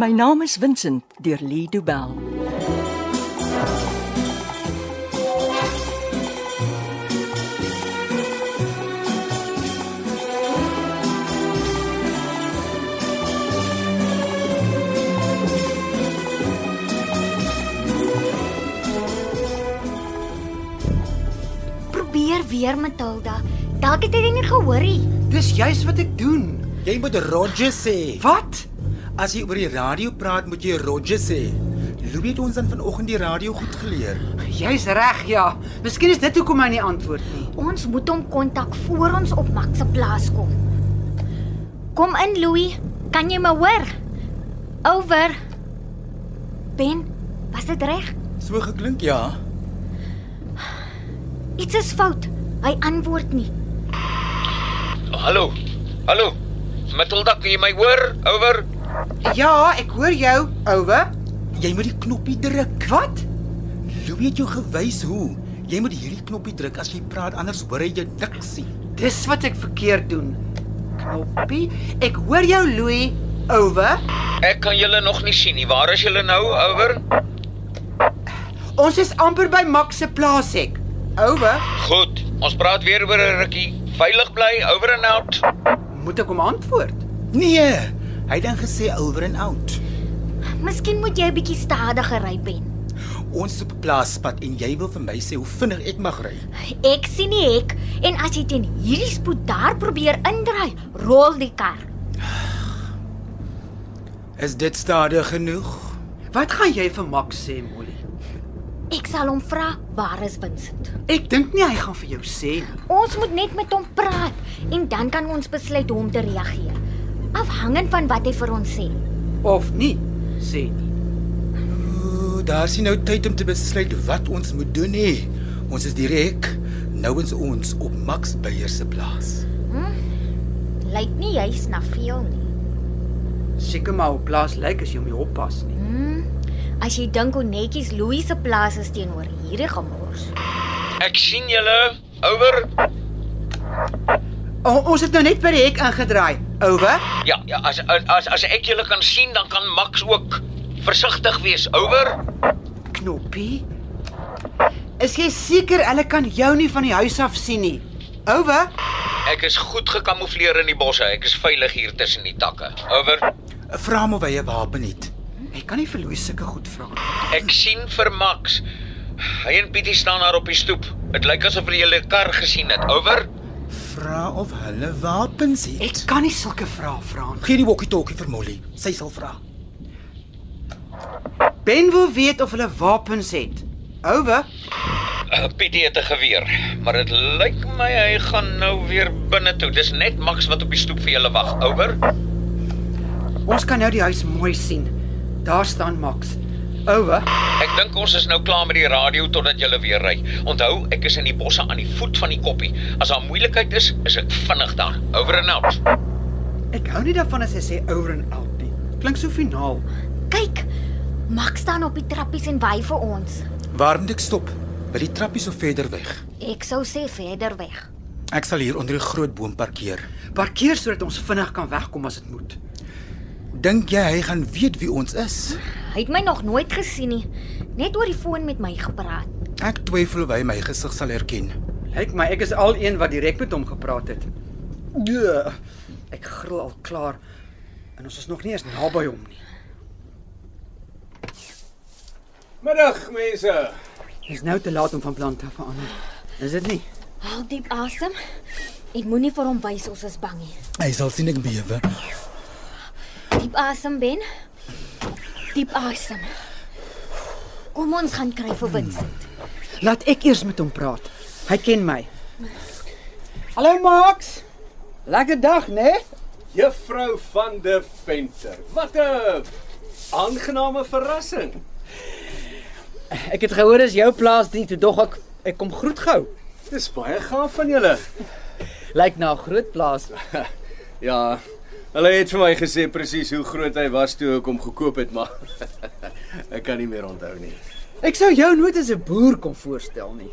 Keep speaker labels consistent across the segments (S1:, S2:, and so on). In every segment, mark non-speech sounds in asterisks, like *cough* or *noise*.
S1: My naam is Vincent deur Lee Du Bell.
S2: Probeer weer, Matilda. Dalk het hy dit nie gehoor nie.
S3: Dis juis wat ek doen.
S4: Jy moet Roger sê.
S3: Wat?
S4: As jy oor die radio praat, moet jy Roger sê. Louis het ons dan vanoggend die radio goed geleer.
S3: Jy's reg, ja. Miskien is dit hoekom hy nie antwoord nie.
S2: Ons moet hom kontak voor ons op Max se plaas kom. Kom in, Louis. Kan jy my hoor? Over. Ben, was dit reg?
S4: So geklink, ja.
S2: Iets is fout. Hy antwoord nie.
S5: Hallo. Hallo. Matilda, kan jy my hoor? Over.
S3: Ja, ek hoor jou, ouwe.
S4: Jy moet die knoppie druk.
S3: Wat?
S4: Louis het jou gewys hoe. Jy moet hierdie knoppie druk as jy praat, anders hoor hy jou niks nie.
S3: Dis wat ek verkeerd doen. Knoppie, ek hoor jou, Louis. Ouwe,
S5: Ek kan julle nog nie sien nie. Waar is julle nou? Over.
S3: ons is amper by Max se plaas ek. Ouwe,
S5: Goed. Ons praat weer oor 'n rukkie. Veilig bly. Over and out.
S3: moet ek hom antwoord?
S4: Nee, hy het dan gesê over and out.
S2: Miskien moet jy 'n bietjie stadiger ry, Ben.
S4: Ons is op 'n plaaspad en jy wil vir my sê hoe vinnig ek mag ry.
S2: Ek sien nie ek en as jy teen hierdie spoed daar probeer indraai, rol die kar.
S4: Is dit stadig genoeg?
S3: Wat gaan jy vir Max sê, Molly?
S2: Ek sal hom vra waar is Vincent.
S3: Ek dink nie hy gaan vir jou sê nie.
S2: Ons moet net met hom praat en dan kan ons besluit hoe om te reageer. Afhangend van wat hy vir ons sê.
S3: Of nie, sê nie.
S4: Ooh, daar sien nou tyd om te besluit wat ons moet doen hè. Ons is direk nouens ons op Max Beyer se plaas.
S2: Lyk nie jy's na veel nie.
S3: Seker maar op plaas lyk as jy hom nie oppas nie.
S2: Hmm. As jy dink hoe netjies Louis se plaas is teenoor hierdie gemors.
S5: Ek sien julle. Over.
S3: O, ons het nou net by die hek ingedraai. Ouwe,
S5: Ja, ja, as as as ek julle kan sien, dan kan Max ook versigtig wees. Over.
S3: Knoppie. Is jy seker hulle kan jou nie van die huis af sien nie? Ouwe,
S5: Ek is goed gekamoufleer in die bosse. Ek is veilig hier tussen die takke. Over.
S4: Vra hom of hy 'n wapen het.
S3: ek kan nie vir Louis sulke goed vra nie.
S5: Ek sien vir Max. Hy en Pietie staan daar op die stoep. Dit lyk asof hulle julle kar gesien het. Over.
S4: Vra of hulle wapens het.
S3: Ek kan nie sulke vrae vra nie.
S4: Gee die walkie-talkie vir Molly. Sy sal vra.
S3: Ben wil weet of hulle wapens het. Ouwe,
S5: Uh, Pietie het 'n geweer, maar dit lyk my hy gaan nou weer binne toe. Dis net Max wat op die stoep vir julle wag. Over.
S3: ons kan nou die huis mooi sien. Daar staan Max. Ouwe,
S5: Ek dink ons is nou klaar met die radio totdat julle weer ry. Onthou, ek is in die bosse aan die voet van die koppie. As daar moeilikheid is, is ek vinnig daar. Over and out.
S3: ek hou nie daarvan as hy sê ouer en oud nie. Klink so finaal.
S2: Kyk, Max staan op die trappies en wy vir ons.
S4: Waar moet ek stop? By die trappies of verder weg?
S2: Ek sou sê verder weg.
S4: Ek sal hier onder 'n groot boom parkeer.
S3: Parkeer sodat ons vinnig kan wegkom as dit moet.
S4: Dink jy hy gaan weet wie ons is?
S2: Hy het my nog nooit gesien nie. Net oor die foon met my gepraat.
S4: Ek twyfel of hy my gesig sal herken.
S3: Lyk my ek is al een wat direk met hom gepraat het. Ja, ek gril al klaar en ons is nog nie eens naby hom nie.
S6: Middag mense.
S3: Dis nou te laat om van plan te verander. Is dit nie?
S2: Haal diep asem. Ek moenie vir hom wys ons is bang nie.
S4: Hy sal sien ek bewe.
S2: Diep asem, Ben. Diep asem. Kom ons gaan kry vir Vincent.
S3: Laat ek eers met hom praat. Hy ken my. Hallo Max. Lekker dag, né? Nee?
S6: Juffrou van der Venter. Wat 'n aangename verrassing.
S3: Ek het gehoor dis jou plaas drie toe dog ek ek kom groet gou.
S6: Dis baie gaaf van julle.
S3: Lyk na 'n groot plaas.
S6: Ja. Hulle het vir my gesê presies hoe groot hy was toe ek hom gekoop het, maar *laughs* ek kan nie meer onthou nie.
S3: Ek sou jou nooit as 'n boer kom voorstel nie.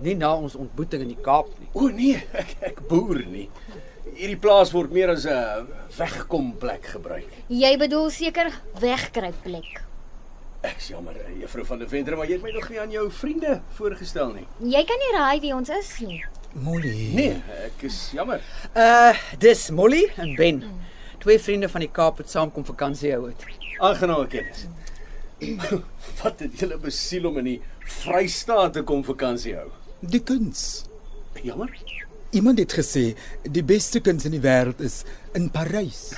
S3: Nie na ons ontmoeting in die Kaap nie.
S6: O nee, ek ek boer nie. hierdie plaas word meer as 'n wegkom plek gebruik.
S2: Jy bedoel seker wegkruip plek.
S6: Ek's jammer, eh, juffrou van der Venter, maar jy het my nog nie aan jou vriende voorgestel nie.
S2: Jy kan nie raai wie ons is nie.
S4: Molly.
S6: Nee, ek is jammer.
S7: Uh
S3: Eh,
S7: dis Molly en Ben. Twee vriende van die Kaap wat saam kom vakansie hou het.
S6: Aangename kennis. *coughs* Wat het julle besiel om in die Vrystaat te kom vakansie hou?
S4: Die kuns.
S6: Jammer.
S4: Iemand het gesê die beste kuns in die wêreld is in Parys.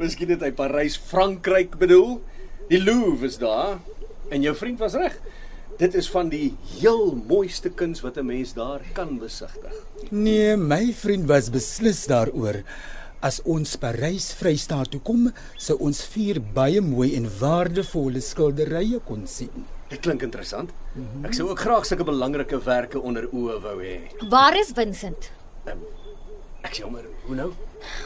S6: Miskien het hy Parys, Frankryk bedoel. Die Louvre is daar en jou vriend was reg. Dit is van die heel mooiste kuns wat 'n mens daar kan besigtig.
S4: Nee, my vriend was beslis daaroor. As ons Parys Vrystaat toe kom, sou ons vier baie mooi en waardevolle skilderye kon sien.
S6: Dit klink interessant. Ek sou ook graag sulke belangrike werke onder oë wou hê. Ehm,
S2: Waar is Vincent?
S6: Ek sê maar, hoe nou?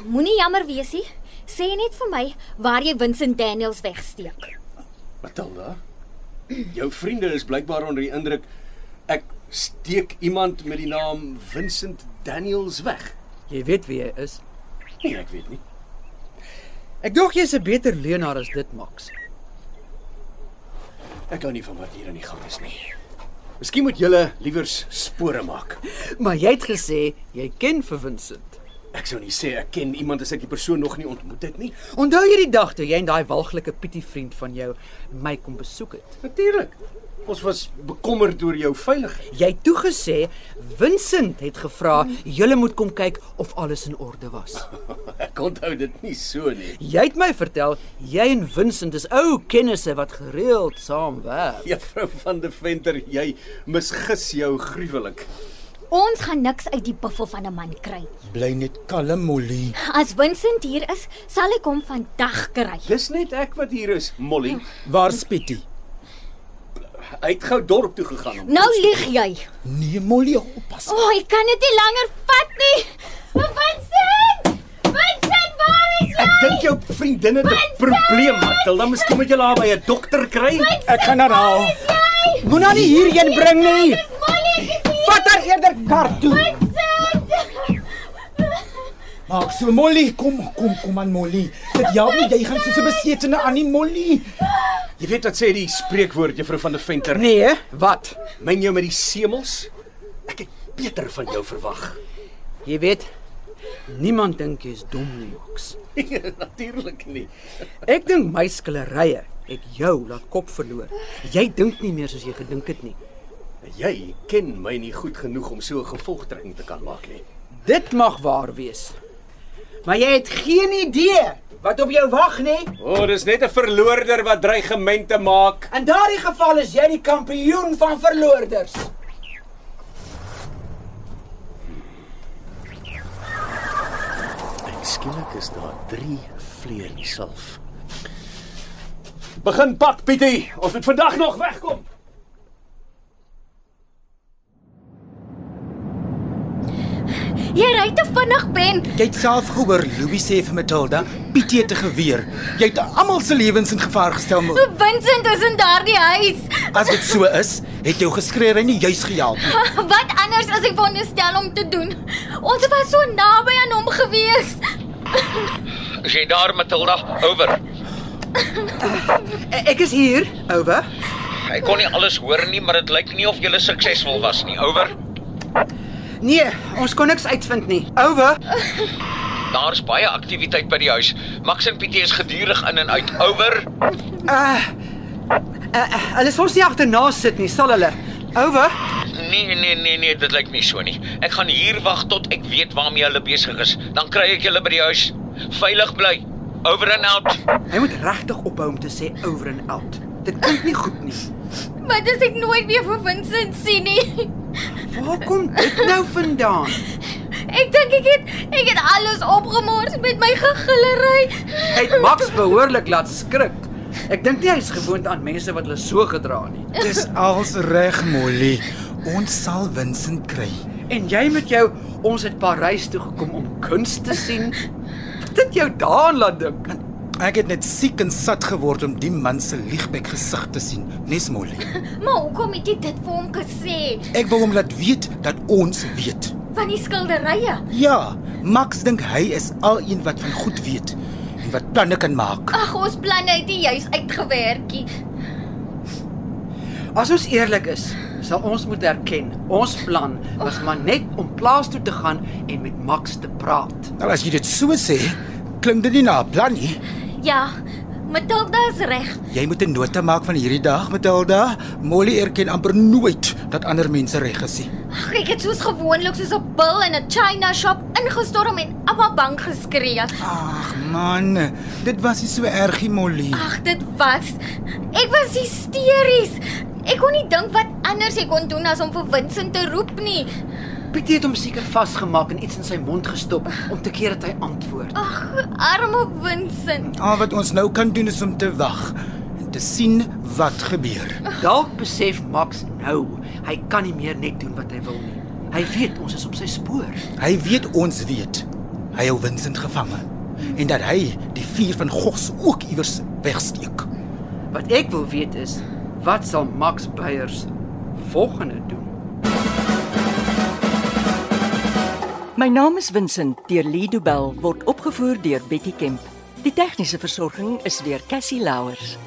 S2: Moenie jammer wees nie. Sê net vir my waar jy Vincent Daniels wegsteek.
S6: Matilda, jou vriende is blykbaar onder die indruk ek steek iemand met die naam Vincent Daniels weg.
S3: Jy weet wie hy is.
S6: Nee, ek weet nie.
S3: Ek dink jy's 'n beter leenaar as dit, Max. *laughs*
S6: Ek hou nie van wat hier aan die gang is nie. Miskien moet julle liewers spore maak.
S3: Maar jy het gesê jy ken vir Vincent.
S6: Ek sou nie sê ek ken iemand as ek die persoon nog nie ontmoet het nie.
S3: Onthou jy die dag toe jy en daai walglike pietie vriend van jou my kom besoek het?
S6: Natuurlik. Ons was bekommerd oor jou veiligheid. *laughs*
S3: Jy het toe gesê Vincent het gevra julle moet kom kyk of alles in orde was. *laughs*
S6: Ek onthou dit nie so nie.
S3: Jy het my vertel jy en Vincent is ou kennisse wat gereeld saam werk.
S6: Juffrou van der Venter, jy misgis jou gruwelik.
S2: Ons gaan niks uit die buffel van 'n man kry.
S4: Bly net kalm, Molly.
S2: As Vincent hier is, sal ek hom vandag kry.
S6: Dis net ek wat hier is, Molly.
S4: Waar Spitty?
S6: Hy het gou dorp toe gegaan om.
S2: Nou lieg jy.
S4: Nee, Molly, oppas.
S2: O, oh, ek kan dit nie langer vat nie. Vincent! Vincent, waar is jy?
S6: Ek dink jou vriendin het 'n probleem, Matilda. Miskien moet jy haar by 'n dokter kry.
S4: Ek gaan haar haal. Moenie haar hierheen bring nie. Vat haar eerder kar toe. Maak so Molly, kom, kom, kom aan Molly. Dit help nie jy gaan soos 'n besetene aan die Molly.
S6: Jy weet wat sê die spreekwoord, juffrou van der Venter?
S3: Nee, wat?
S6: Meng jou met die semels. Ek het beter van jou verwag. *laughs*
S3: Jy weet, niemand dink jy's dom nie, Max.
S6: Nee, Natuurlik nie.
S3: Ek dink my skillerye het jou laat kop verloor. Jy dink nie meer soos jy gedink het nie.
S6: Jy ken my nie goed genoeg om so 'n gevolgtrekking te kan maak nie.
S3: Dit mag waar wees. Maar jy het geen idee wat op jou wag nie.
S6: O, oh, dis net 'n verloorder wat dreigemente maak.
S3: In daardie geval is jy die kampioen van verloorders.
S6: En skielik is daar 3 vleie in dieself. Begin pak, Pietie. Ons moet vandag nog wegkom.
S2: Jy ry te vinnig, Ben.
S4: Jy het self gehoor Louis sê vir Matilda, Pietie het 'n geweer. Jy het almal se lewens in gevaar gestel, Molly.
S2: Vincent is in daardie huis. *laughs*
S4: As dit so is, het jou geskreeu en nie juis gehelp nie.
S2: Wat anders as ek veronderstel om te doen? Ons was so naby aan hom gewees.
S5: Is jy daar, Matilda? Over.
S3: E, Ek is hier, ouwe.
S5: Ek kon nie alles hoor nie, maar dit lyk nie of jy suksesvol was nie. Over.
S3: Nee, ons kon niks uitvind nie. Ouwe,
S5: Daar's baie aktiwiteit by die huis. Max en Pietie is gedurig in en uit. Over.
S3: eh, hulle sou se agterna sit nie, sal hulle. Ouwe,
S5: Nee, nee, nee, nee, dit lyk nie so nie. Ek gaan hier wag tot ek weet waarmee hulle besig is. Dan kry ek julle by die huis. Veilig bly. Over and out.
S3: hy moet regtig ophou om te sê over and out. Dit klink nie goed nie.
S2: Wat as ek nooit weer vir Vincent sien nie? *laughs*
S3: Waar kom dit nou vandaan?
S2: Ek dink ek het ek het alles opgemors met my gegillery.
S3: Hy het Max behoorlik laat skrik. Ek dink nie hy's gewoond aan mense wat hulle so gedra nie.
S4: Dis als reg, Molly. Ons sal Vincent kry.
S3: En jy met jou, ons het Parys toe gekom om kuns te sien. Dit jou daaraan laat dink.
S4: Ek het net siek en sat geword om die man se liegbek gesig te sien, nes Molly.
S2: Maar hoekom het jy dit vir hom gesê?
S4: Ek wou hom laat weet dat ons weet.
S2: Van die skilderye.
S4: Ja, Max dink hy is al een wat van goed weet en wat planne kan maak.
S2: Ag, ons planne het nie juis uitgewerkie.
S3: As ons eerlik is, sal ons moet erken, ons plan was maar net om plaas toe te gaan en met Max te praat.
S4: Nou as jy dit so sê, klink dit nie na 'n plan nie.
S2: Ja, Matilda is reg.
S4: Jy moet 'n nota maak van hierdie dag, Matilda. Molly erken amper nooit dat ander mense reg is nie.
S2: Ag, ek het soos gewoonlik soos 'n bil in 'n China shop ingestorm en Abba bang geskree.
S4: Ag man, dit was nie so erg nie, Molly.
S2: Ag, dit was ek was hysteries. Ek kon nie dink wat anders ek kon doen as om vir Vincent te roep nie.
S3: Pietie het hom seker vasgemaak en iets in sy mond gestop om te keer dat hy antwoord.
S2: Ag, arme Vincent.
S4: Al wat ons nou kan doen is om te wag en te sien wat gebeur.
S3: Dalk besef Max nou, hy kan nie meer net doen wat hy wil nie. Hy weet ons is op sy spoor.
S4: Hy weet ons weet. Hy hou Vincent gevange en dat hy die vuur van Gogs ook iewers wegsteek.
S3: Wat ek wil weet is, wat sal Max Beyers volgende doen?
S1: My naam is Vincent deur Lee Du Bell word opgevoer deur Betty Kemp. Die tegniese versorging is deur Cassie Louers.